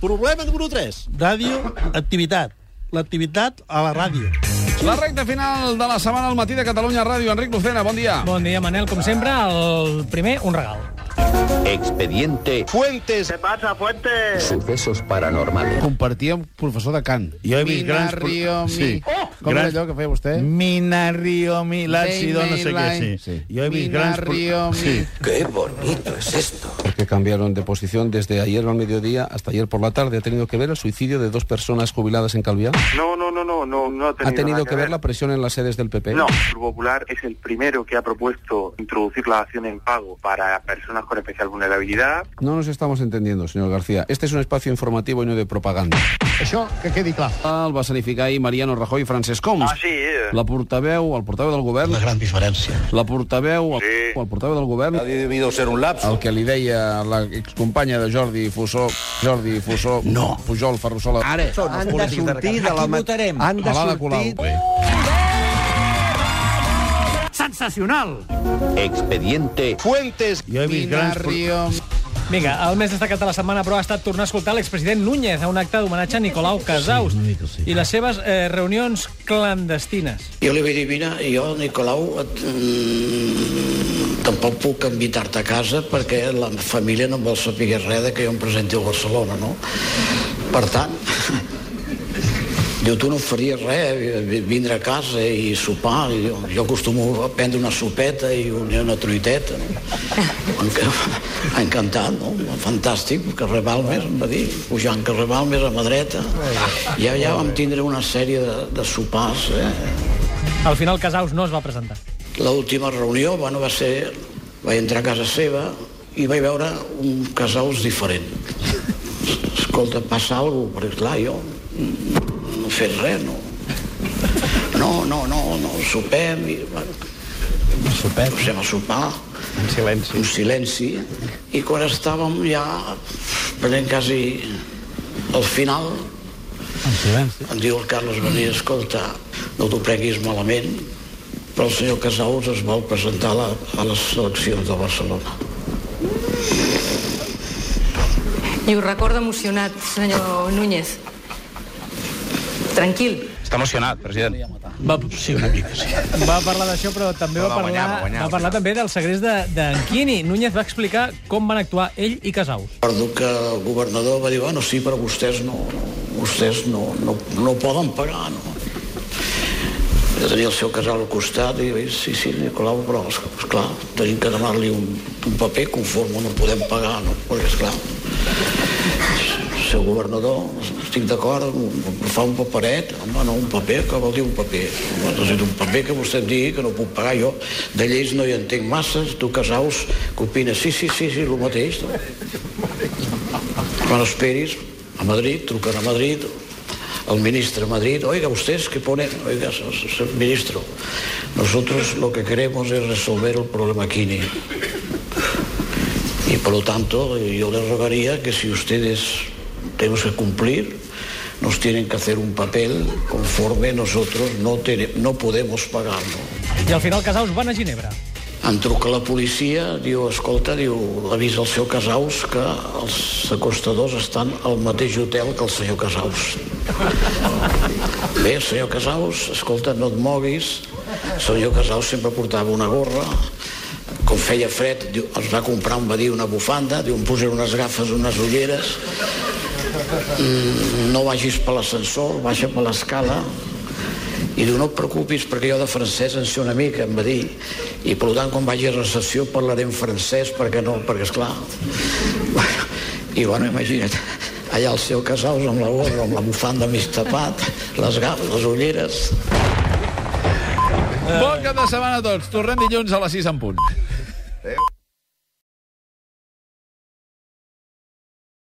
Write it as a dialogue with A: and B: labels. A: Problema número 3.
B: Ràdio, activitat. L'activitat a la ràdio.
C: La recta final de la setmana al matí de Catalunya Ràdio. Enric Lucena, bon dia.
D: Bon dia, Manel. Com sempre, el primer, un regal.
E: Expediente
A: Fuentes.
E: Sucesos Paranormales.
C: Compartia un professor de cant.
F: Jo he vist grans...
C: Minarriomi.
F: Sí. Oh!
C: Com era
F: grans...
C: allò que feia vostè?
F: Minariomi, l'àcido, no sé què,
C: Mayline.
F: sí. sí. Jo he vist grans... pro-
C: Minariomi.
F: Sí.
E: Qué bonito es esto.
G: que cambiaron de posición desde ayer al mediodía hasta ayer por la tarde. Ha tenido que ver el suicidio de dos personas jubiladas en Calviá.
H: No, no, no, no, no, no ha tenido,
G: Ha tenido
H: nada
G: que ver la presión en las sedes del PP.
H: No, el Popular es el primero que ha propuesto introducir la acción en pago para personas con especial vulnerabilidad.
G: No nos estamos entendiendo, señor García. Este es un espacio informativo y no de propaganda.
C: Això que quedi clar.
G: El va escenificar ahir Mariano Rajoy i Francesc Homs.
H: sí, eh.
G: La portaveu, el portaveu del govern... Una gran diferència. La portaveu, el,
H: Sí.
G: el portaveu del govern... Ha debido ser un lapso. El que li deia la excompanya de Jordi Fussó, Jordi Fussó... No. Pujol Ferrusola... Ara.
I: Han de sortir de la...
D: Aquí
F: Ah,
D: votarem.
I: Han de
G: Alada
I: sortir...
G: Colau.
D: Sensacional!
E: Expediente
A: Fuentes.
F: Jo he vist grans... pro-
C: Minariomi.
D: Vinga, el més destacat de la setmana, però, ha estat tornar a escoltar l'expresident Núñez a un acte d'homenatge a Nicolau Casaus
F: una mica sí.
D: i les seves eh, reunions clandestines.
J: Jo li vaig dir, vine, jo, Nicolau, et, mm, tampoc puc invitar-te a casa perquè la família no em vol saber res de que jo em presenti a Barcelona, no? Per tant, diu, tu no faries res, eh, vi- vindre a casa i sopar, i jo, jo acostumo a prendre una sopeta i una, una truiteta, no? Enca- Encantat, no? Fantàstic, carrer Balmes, em va dir, pujant carrer Balmes a mà dreta. Ja, ja vam tindre una sèrie de, de sopars, eh?
D: Al final, Casaus no es va presentar.
J: L'última reunió bueno, va ser... Vaig entrar a casa seva i vaig veure un casaus diferent. Escolta, passa alguna cosa, perquè clar, jo no he fet res, no. No, no, no, no, sopem i... Bueno, sopem? Posem a sopar. En silenci. Un silenci. I quan estàvem ja prenent quasi el final, em diu el Carles Bení, escolta, no t'ho prenguis malament, però el senyor Casaus es vol presentar a, la, a les eleccions de Barcelona.
K: I ho recordo emocionat, senyor Núñez. Tranquil.
E: Està emocionat, president.
D: Va, sí, una mica, sí. va parlar d'això, però també va,
E: va guanyar,
D: parlar,
E: va guanyar,
D: va
E: va guanyar.
D: parlar també del segrest de- d'Anquini. De, Núñez va explicar com van actuar ell i Casaus.
J: Recordo que el governador va dir, bueno, sí, però vostès no, no vostès no, no, no poden pagar, no? Jo tenia el seu casal al costat i vaig dir, sí, sí, Nicolau, però, és- és clar, tenim que demanar-li un, un paper conforme no podem pagar, no? Perquè, és clar, seu governador, estic d'acord, em fa un paperet, home, no, un paper, que vol dir un paper? Home, Necessito un paper que vostè em digui que no puc pagar jo. De lleis no hi entenc masses, tu, Casaus, que opines? Sí, sí, sí, sí, el mateix. No? Quan esperis, a Madrid, truquen a Madrid, el ministro de Madrid, oiga, ustedes que ponen, oiga, se- se- se- ministro, nosotros lo que queremos es resolver el problema Kini. Y por lo tanto, yo les rogaría que si ustedes tenemos que cumplir, nos tienen que hacer un papel conforme nosotros no, tene- no podemos pagarlo.
D: I al final, Casaus va anar a Ginebra.
J: Em truca la policia, diu, escolta, diu, avisa el seu Casaus que els acostadors estan al mateix hotel que el senyor Casaus. Bé, senyor Casaus, escolta, no et moguis. El senyor Casaus sempre portava una gorra, com feia fred, diu, els va comprar, em va dir, una bufanda, diu, em posaré unes gafes, unes ulleres. Mm, no vagis per l'ascensor, baixa per l'escala, i diu, no et preocupis perquè jo de francès en sé una mica, em va dir. I per tant, quan vagi a recepció parlaré en francès perquè no, perquè és clar. I bueno, imagina't, allà al seu Casaus amb la gorra, amb la bufanda mig tapat, les gafes, les ulleres...
C: Bon cap de setmana a tots. Tornem dilluns a les 6 en punt.